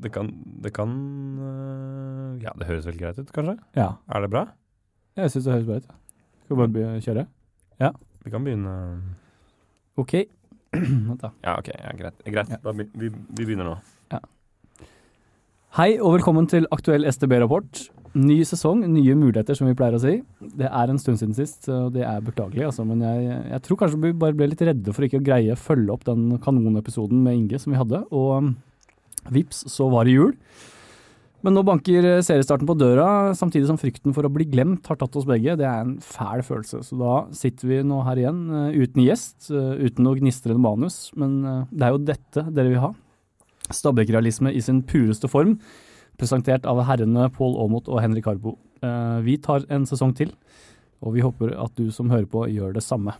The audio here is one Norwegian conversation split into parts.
Det kan, det kan øh, Ja, det høres vel greit ut, kanskje? Ja. Er det bra? Jeg syns det høres bra ut. ja. Skal vi bare be- kjøre? Vi kan begynne OK. Vent, da. Ja, OK. Ja, greit. greit. Ja. Da be vi, vi begynner nå. Hei og velkommen til Aktuell STB-rapport. Ny sesong, nye muligheter, som vi pleier å si. Det er en stund siden sist, og det er beklagelig, altså, men jeg, jeg tror kanskje vi bare ble litt redde for ikke å greie å følge opp den kanonepisoden med Inge som vi hadde, og um, vips, så var det jul. Men nå banker eh, seriestarten på døra, samtidig som frykten for å bli glemt har tatt oss begge. Det er en fæl følelse, så da sitter vi nå her igjen eh, uten gjest, eh, uten noe gnistrende manus, men eh, det er jo dette dere vil ha. Stabbekkrealisme i sin pureste form, presentert av herrene Pål Aamodt og Henrik Harbo. Eh, vi tar en sesong til, og vi håper at du som hører på, gjør det samme.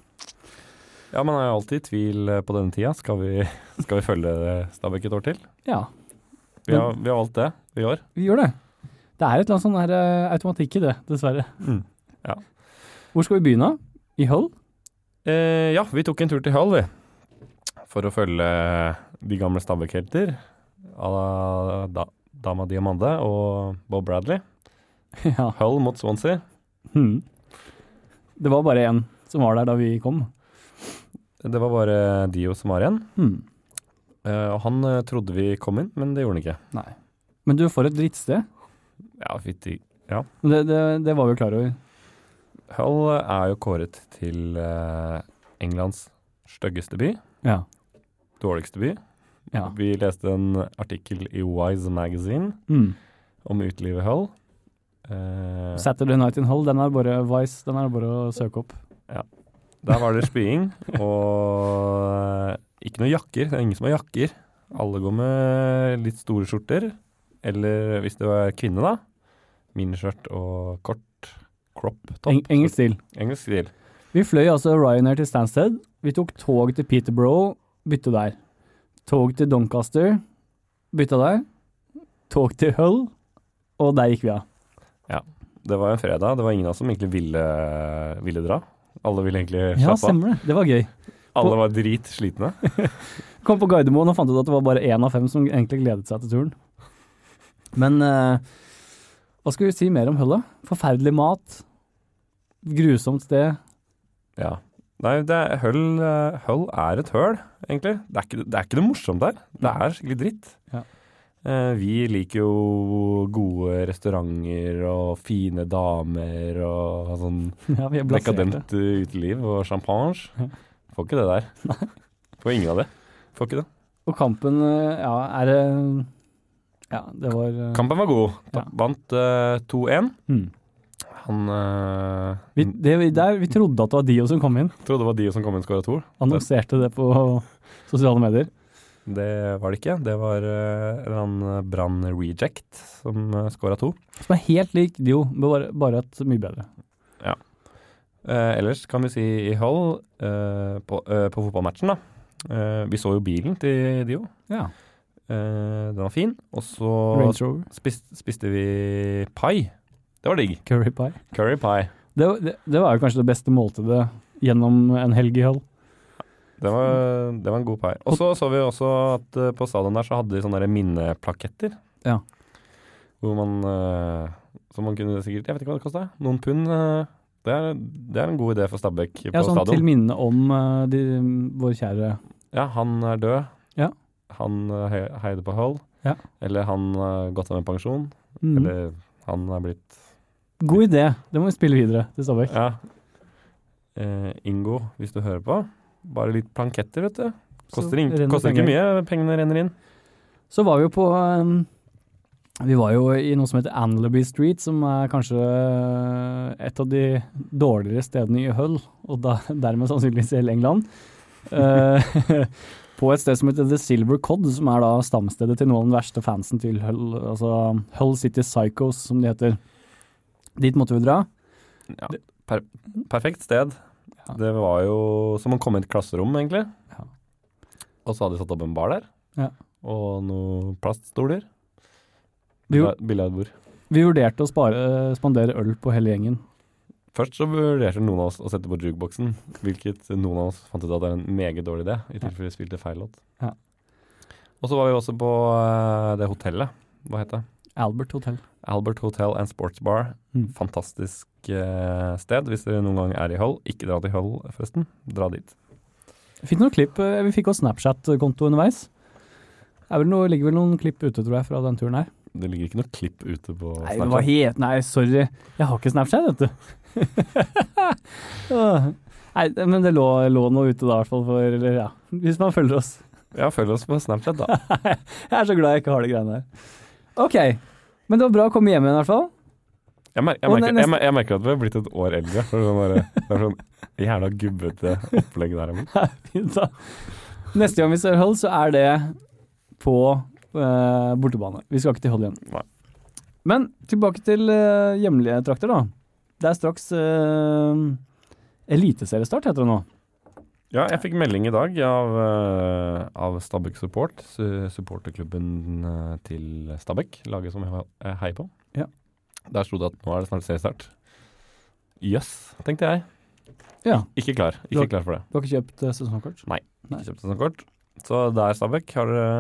Ja, man er jo alltid i tvil eh, på denne tida. Skal vi, skal vi følge Stabæk et år til? Ja, Vi har, vi har valgt det i år. vi gjør det. Det er et eller annet sånn her eh, automatikk i det, dessverre. Mm. Hvor skal vi begynne? I Hull? Eh, ja, vi tok en tur til Hull, vi. For å følge de gamle Stabæk-helter. à la Da, Dama Diamande og Bob Bradley. ja. Hull mot Swansea. Hmm. Det var bare én som var der da vi kom. Det var bare Dio som var igjen. Hmm. Eh, og han eh, trodde vi kom inn, men det gjorde han ikke. Nei. Men du, for et drittsted. Ja, fytti. Det, det, det var vi klar over. Hull er jo kåret til eh, Englands styggeste by. Ja. Dårligste by. ja. Vi leste en artikkel i Wise Magazine Hmm. om utelivet i Hull. Eh, Saturday Night in Hull, den er bare Vice, den er bare å søke opp. der var det spying, og ikke noe jakker. Det er ingen som har jakker. Alle går med litt store skjorter. Eller hvis du er kvinne, da. Miniskjørt og kort crop top. Eng engelsk stil. Engelsk stil. Vi fløy altså Ryanair til Stansted. Vi tok tog til Peterborough, bytte der. Tog til Doncaster, bytta der. Tog til Hull, og der gikk vi av. Det var en fredag. Det var ingen av oss som egentlig ville, ville dra. Alle ville egentlig Ja, slappe av. stemmer det. Det var gøy. Alle var dritslitne. Kom på Gardermoen og fant ut at det var bare én av fem som egentlig gledet seg til turen. Men eh, hva skal vi si mer om Hull, da? Forferdelig mat. Grusomt sted. Ja. Nei, det er, høll, eh, høll er et høl, egentlig. Det er, ikke, det er ikke noe morsomt der. Det er skikkelig dritt. Ja. Eh, vi liker jo gode restauranter og fine damer og sånn Ja, vi er blaserte. dekadent eh, uteliv og champagne. Ja. Får ikke det der. Får ingen av det. Får ikke det. Og kampen, eh, ja, er det Ja, det var eh, Kampen var god. Ja. Vant eh, 2-1. hmm. Han eh, Vi, det, vi- der, vi trodde at det var Dio som kom inn. trodde det var de som kom inn og skåra to. Annonserte det på sosiale medier. Det var det ikke. Det var eh, en annen Brann Reject som uh, skåra to. Som er helt lik Dio, men bare, bare at mye bedre. Eh, ellers kan vi si i Hull, eh, på, eh, på fotballmatchen, da. Eh, vi så jo bilen til Dio. Ja. Eh, den var fin. Og så Range Rover, spis, spiste vi pai. Det var digg. Curry Pie. Curry pie. Det, var- det, det var jo kanskje det beste måltidet gjennom en helg i Hull. Det var, det var en god pai. Og så så vi også at eh, på stadion der så hadde de sånne der minneplaketter. Ja. Hvor man eh, Som man kunne sikkert Jeg vet ikke hva det kosta. Noen pund. eh, Det er, det er en god idé for Stabæk på Ja, sånn til stadion. minne om eh, de, vår kjære Ja, han er død. Ja. Han eh, he- heide på Hull. Ja. Eller han har gått av med pensjon. Mm. Eller han er blitt God idé! Det må vi spille videre til Stabæk. Ja. Eh, Ingo, hvis du hører på. Bare litt planketter, vet du. Så Koster, ing- renner koster ikke penger. mye. Pengene renner inn. Så var vi jo på um, Vi var jo i noe som heter Anleby Street, som er kanskje uh, et av de dårligere stedene i Hull, og da, dermed sannsynligvis i hele England. Eh, på et sted som heter The Silver Cod, som er da stamstedet til noen av den verste fansen til Hull, altså Hull City Psychos, som de heter. Dit måtte vi dra. Ja, per perfekt sted. Mhm. Ja. Det var jo som å komme i et klasserom, egentlig. Ja. Og så hadde de satt opp en bar der, Ja. og noen plaststoler. Vi, Billiard- Billardbord. vi vurderte å spare, spandere øl på hele gjengen. Først så vurderte noen av oss å sette på jukeboksen, hvilket noen av oss fant ut at er en meget dårlig idé, i tilfelle vi spilte feil låt. Ja. Og så var vi også på eh, det hotellet. Hva het det? Albert hotell. Albert Hotel and Sports Bar. Mm. Fantastisk eh, sted hvis dere noen gang er i Hull. Ikke dra til Hull, forresten. Dra dit. Fikk noen klipp. eh, Vi fikk også Snapchat-konto underveis. Det er vel noe, ligger vel noen klipp ute, tror jeg, fra den turen her. Det ligger ikke noe klipp ute på Nei, det var helt, nei, sorry. Jeg har ikke Snapchat, vet du. Åh. nei, det- men det lå, lå noe ute da, i hvert fall. For, eller, ja. Hvis man følger oss. Ja, følg oss på Snapchat, da. Jeg er så glad jeg ikke har de greiene der. Ok, men det var bra å komme hjem igjen, i hvert fall. Jeg, mer jeg, Og merker, neste- jeg, mer jeg merker at vi har blitt et år eldre. For sånn bare, det er sånn jævla gubbete opplegg der. Emil. Fint, da. Neste gang vi ser Hull, så er det på eh, bortebane. Vi skal ikke til Hull igjen. Nei. Men tilbake til eh, hjemlige trakter, da. Det er straks eh, eliteseriestart, heter det nå. Ja, jeg fikk melding i dag av, eh, av Stabæk Support, su- supporterklubben eh, til Stabæk, laget som jeg eh, heier på. Ja. Der sto det at nå er det snart seriestart. Jøss, yes, tenkte jeg. Ja. Ikke klar. Du har- Ikke klar for det. Du har ikke kjøpt eh, sesongkort? Nei. Ikke kjøpt sånn kort. Så der, Stabæk, har dere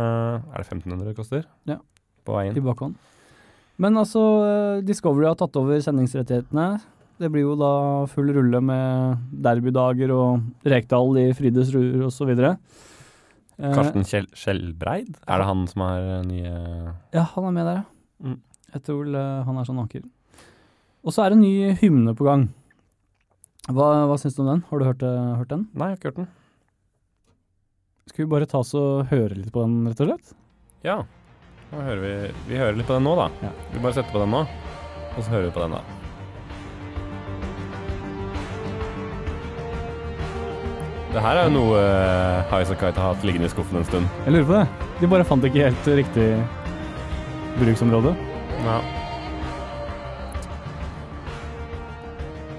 Er det 1500 det koster? Ja. På veien. i bakhånd. Men altså, eh, Discovery har tatt over sendingsrettighetene. Det blir jo da full rulle med derbydager og Rekdal i Frides ruer osv. Eh, Karsten Kjell Skjelbreid? Er det han som er eh, nye Ja, han er med der, ja. Mm. Jeg tror vel eh, han er sånn anker. Og så er det en ny hymne på gang. Hva, hva syns du om den? Har du hørt, det- hørt den? Nei, jeg har ikke hørt den. Skal vi bare ta oss og høre litt på den, rett og slett? Ja. Nå hører vi, vi hører litt på den nå, da. Ja. Vi bare setter på den nå, og så hører vi på den, da. Det her er jo noe uh, Highas Kite har hatt liggende i skuffen en stund. Jeg lurer på det. De bare fant ikke helt riktig bruksområde. Ja.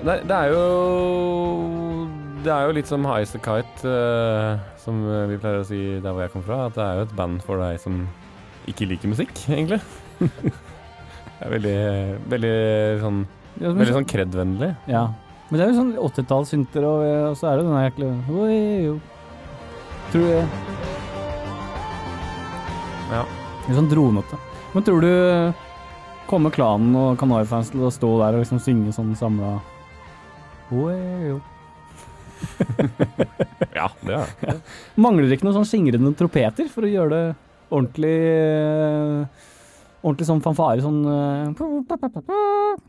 Det, det er jo Det er jo litt som Highas Kite, eh, som eh, vi pleier å si der hvor jeg kom fra, at det er jo et band for deg som ikke liker musikk, egentlig. det er veldig, veldig sånn Ja, men- Veldig sånn kredvennlig. Ja. Men det er jo sånn 80-tallssynter, og, eh, og så er det denne jækla Oi, jo. Tror jeg. Ja. Litt sånn dronete. Men tror du eh, kommer klanen og Kanariøyfans til å stå der og liksom synge sånn samla Oi, jo. Ja, det er det. Mangler det ikke noen sånn skingrende trompeter for å gjøre det ordentlig eh, Ordentlig sånn fanfare, sånn eh,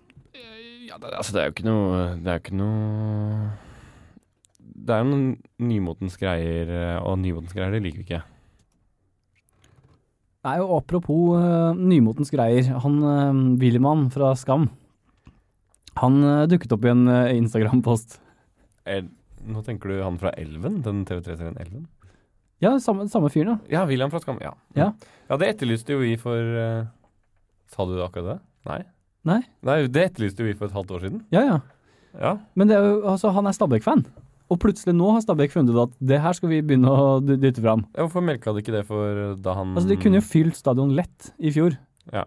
Ja, det, altså, det er jo ikke noe Det er jo ikke noe Det er jo noen nymotens greier, eh, og nymotens greier, det liker vi ikke. Nei, og apropos eh, nymotens greier. Han uh, Williman fra Skam, han eh, dukket opp i en eh, Instagram-post. El Nå tenker du han fra Elven? Den TV3-serien Elven? Ja, samme, samme fyren, Ja, ja. William fra Skam. Ja. Mm. Ja. ja, det etterlyste jo vi for eh, Sa du det akkurat det? Nei. Nei. Nei, Det etterlyste jo vi for et halvt år siden. Ja, ja. Ja. Men det er jo, altså, han er Stabæk-fan. Og plutselig nå har Stabæk funnet ut at det her skal vi begynne å dy- dytte fram. Ja, Hvorfor melka de ikke det for eh, da han Altså, de kunne jo fylt stadion lett i fjor, Mm. Ja.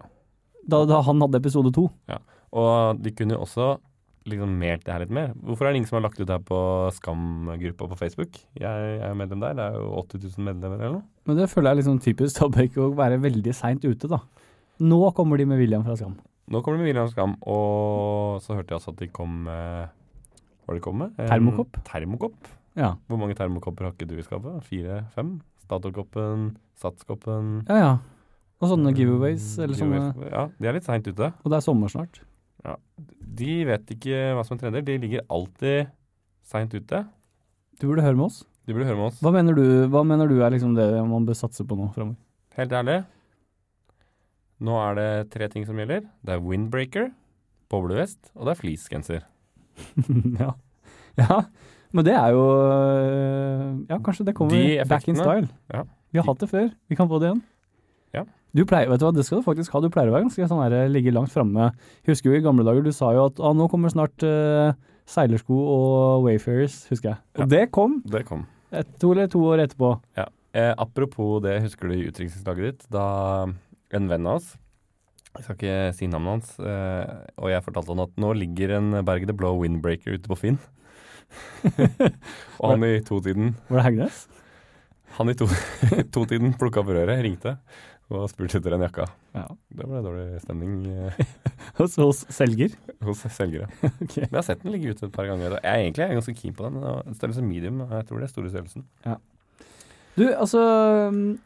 da, da han hadde episode to. Og de kunne jo også liksom melt det her litt mer. Hvorfor er det ingen som har lagt ut det her på Skam-gruppa på Facebook? Jeg, jeg er medlem der. Det er jo 80 000 medlemmer eller noe. Men det føler jeg er liksom typisk Stabæk å være veldig seint ute, da. Nå kommer de med William fra Skam. Nå kommer det med William Skam, og så hørte jeg altså at de kom med Hva var det de kom med? En Termokopp? Termokopp. Ja, Hvor mange termokopper har ikke du i skapet? Fire? Fem? Statoil-koppen? Sats-koppen? Mm, ja. ja. Og sånne giveaways, eller sånne Giveaways. Ja, de er litt seint ute. Og det er sommer snart. De vet ikke hva som er trender. De ligger alltid seint ute. Du burde høre med oss. De burde høre med oss. Hva mener du, hva mener du er liksom det man bør satse på nå framover? Helt ærlig, nå er det tre ting som gjelder. Det er windbreaker, boblevest og det er fleecegenser. ja. ja. Men det er jo øh, Ja, kanskje det kommer De back in effektene, style. ja. Vi har hatt det før. Vi kan få det igjen. Ja. Du pleier, vet du hva, Det skal du faktisk ha. Du pleier å være ganske sånn her, ligge langt framme. Husker jo i gamle dager, du sa jo at ah, nå kommer snart øh, seilersko og Wayfarers, husker jeg. Og Ja. det kom Det kom. et, to eller to år etterpå. Eh, apropos det, husker du i utdrikningslaget ditt, da en venn av oss jeg skal ikke si navnet hans. Eh, og jeg fortalte han at nå ligger en Berg the Blow Windbreaker ute på Finn. og han i totiden Var det Hegnes? Han i to- to-tiden to plukka opp røret, ringte og spurte etter den jakka. Ja. Det ble dårlig stemning eh, Hos, hos selger. hos selgere. Ok. Men jeg har sett den ligge ute et par ganger. og Jeg er egentlig er ganske keen på den. og Størrelse medium, jeg tror det er store størrelsen. Du, altså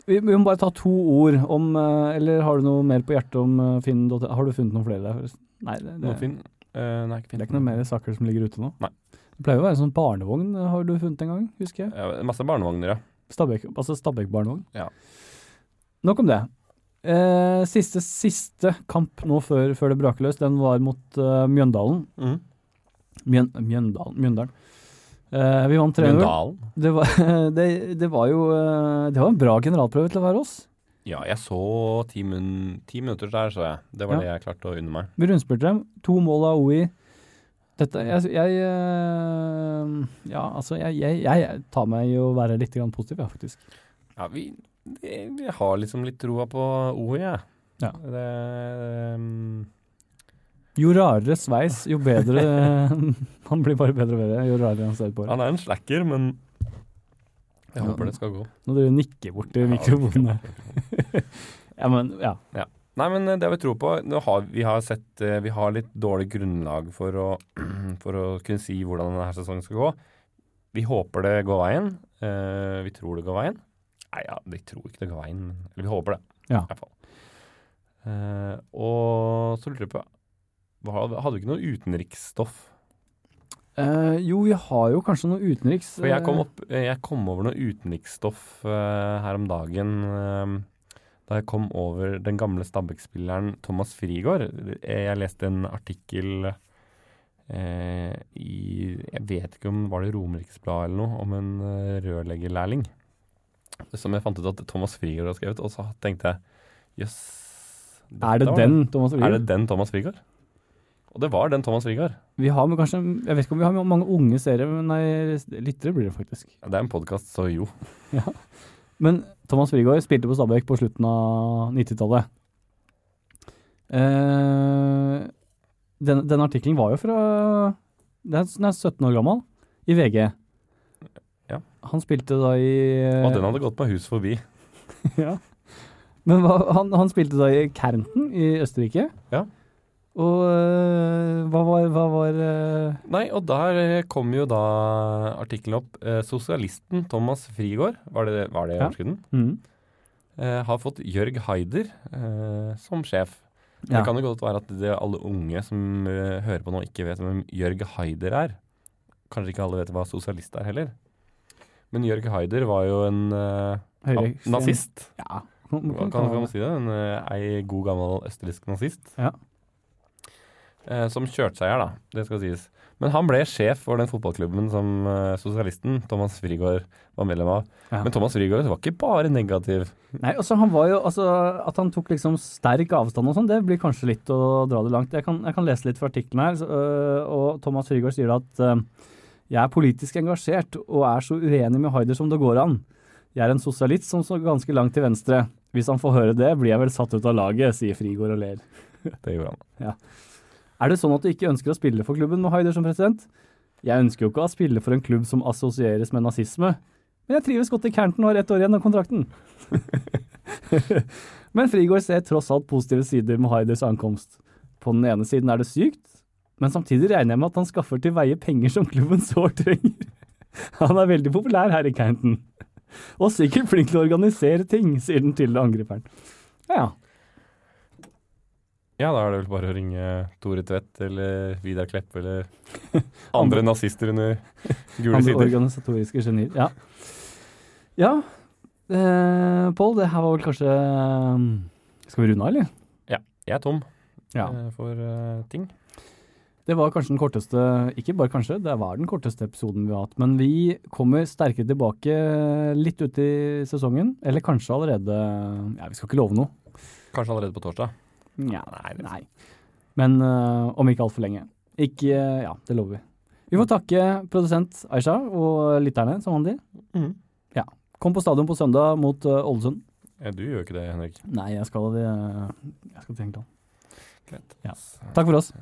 Vi vi må bare ta to ord om eh, Eller har du noe mer på hjertet om eh, finn.no? Har du funnet noen flere der, forresten? Nei, det, det, Noe fin? Eh, nei, ikke det fin. er ikke noen mer saker som ligger ute nå? Nei. Det pleier jo å være en sånn barnevogn, eh, har du funnet en gang? Husker jeg. Ja, masse barnevogner, ja. Stabæk, altså Stabæk-barnevogn. Ja. Nok om det. Eh, siste, siste kamp nå før, før det braker løs, den var mot eh, Mjøndalen. Mjøn, Mjøndalen. Mjøndalen. Eh, vi vant 3-0. Mjøndalen? Det, var- det, det var jo eh, Det var en bra generalprøve til å være oss. Ja, jeg så ti, min ti minutter der, så jeg. Det var Ja. det jeg klarte å unne meg. Vi rundspurte dem. To mål av OI. Dette, jeg, jeg eh, Ja, altså, jeg, jeg, jeg tar meg i å være litt grann positiv, ja, faktisk. Ja, vi, det, vi har liksom litt troa på OI, jeg. Ja. Det, ehm, Jo rarere sveis, jo bedre Han blir bare bedre og bedre jo rarere han ser ut på. det. han er en slacker, men jeg Ja. håper det skal gå. Nå driver han og nikker borti Ja, mikrofonen her. ja, men ja. Nei, men eh, det har vi tro på. Nå har, vi, har sett, eh, vi har litt dårlig grunnlag for å, for å kunne si hvordan denne sesongen skal gå. Vi håper det går veien. Eh, vi tror det går veien. Nei, ja, vi tror ikke det går veien, men eller vi håper det. Ja. I hvert fall. Eh, og så lurer jeg på hva- Hadde vi ikke noe utenriksstoff? Eh, jo, vi har jo kanskje noe utenriks. For jeg kom, opp, eh, jeg kom over noe utenriksstoff eh, her om dagen eh, da jeg kom over den gamle Stabæk-spilleren Thomas Frigård. Eh, Jeg leste en artikkel eh, i Jeg vet ikke om var det Romeriksbladet eller noe, om en eh, rørleggerlærling. Som jeg fant ut at Thomas Frigård har skrevet, og så tenkte jeg jøss Er det dette var- den, Thomas Er Olien? det den Thomas Frigård? Og det var den Thomas Frigård. Vi har med kanskje Jeg vet ikke om vi har med mange unge seere, men nei, lyttere blir det faktisk. Det er en podkast, så jo. Men Thomas Frigård spilte på Stabæk på slutten av 90-tallet. Eh, den, den artikkelen var jo fra Den er, den er 17 år gammel, i VG. Ja. Han spilte da i Eh. Og den hadde gått meg hus forbi. ja. Men hva, han, han spilte da i Kärnten i Østerrike. Ja. Og eh, hva var, hva var eh, Nei, og der eh, kom jo da artikkelen opp. Eh, sosialisten Thomas Frigård, var det var det Ja. overskriden, mm. eh, har fått Jørg Haider eh, som sjef. Men Ja. Det kan jo godt være at det alle unge som eh, hører på nå, ikke vet hvem Jørg Haider er. Kanskje ikke alle vet hva sosialist er heller. Men Jørg Haider var jo en eh, Høyre- na- nazist. Ja. Hva kan, kan man si det? En, eh, ei god gammel østerriksk nazist. Ja. Eh, som kjørte seg her, da. Det skal sies. Men han ble sjef for den fotballklubben som eh, sosialisten Thomas Frigård var medlem av. Ja. Men Thomas Frigård var ikke bare negativ. Nei, altså han var jo, altså At han tok liksom sterk avstand og sånn, det blir kanskje litt å dra det langt. Jeg kan, jeg kan lese litt fra artikkelen her, så, øh, og Thomas Frigård sier da at øh, jeg er politisk engasjert og er så uenig med Haider som det går an. Jeg er en sosialist som står ganske langt til venstre. Hvis han får høre det, blir jeg vel satt ut av laget, sier Frigård og ler. Det gjorde han. Er det sånn at du ikke ønsker å spille for klubben med Haider som president? Jeg ønsker jo ikke å spille for en klubb som assosieres med nazisme, men jeg trives godt i Kärnten og har ett år igjen av kontrakten. men Frigård ser tross alt positive sider med Haiders ankomst. På den ene siden er det sykt, men samtidig regner jeg med at han skaffer til veie penger som klubben sårt trenger. Han er veldig populær her i Kärnten. Og sikkert flink til å organisere ting, sier den til angriperen. Ja, ja. Ja, da er det vel bare å ringe Tore Tvedt eller Vidar Kleppe eller andre nazister under gule Andre sider. organisatoriske genier. Ja. ja. Eh, Pål, det her var vel kanskje eh, Skal vi runde av, eller? Jeg er tom Ja. eh, for eh, ting. Det var kanskje den korteste Ikke bare kanskje, det var den korteste episoden vi har hatt. Men vi kommer sterkere tilbake litt ut i sesongen. Eller kanskje allerede Ja, vi skal ikke love noe. Kanskje allerede på torsdag. Nja, Nei, det- nei. Men eh, om ikke altfor lenge. Ikke eh, Ja, det lover vi. Vi får takke produsent Aisha og lytterne, som vanlig. Mm. Kom på stadion på søndag mot eh, Ålesund. Ja, du gjør jo ikke det, Henrik. Nei, jeg skal, jeg skal til England. Greit. Takk for oss.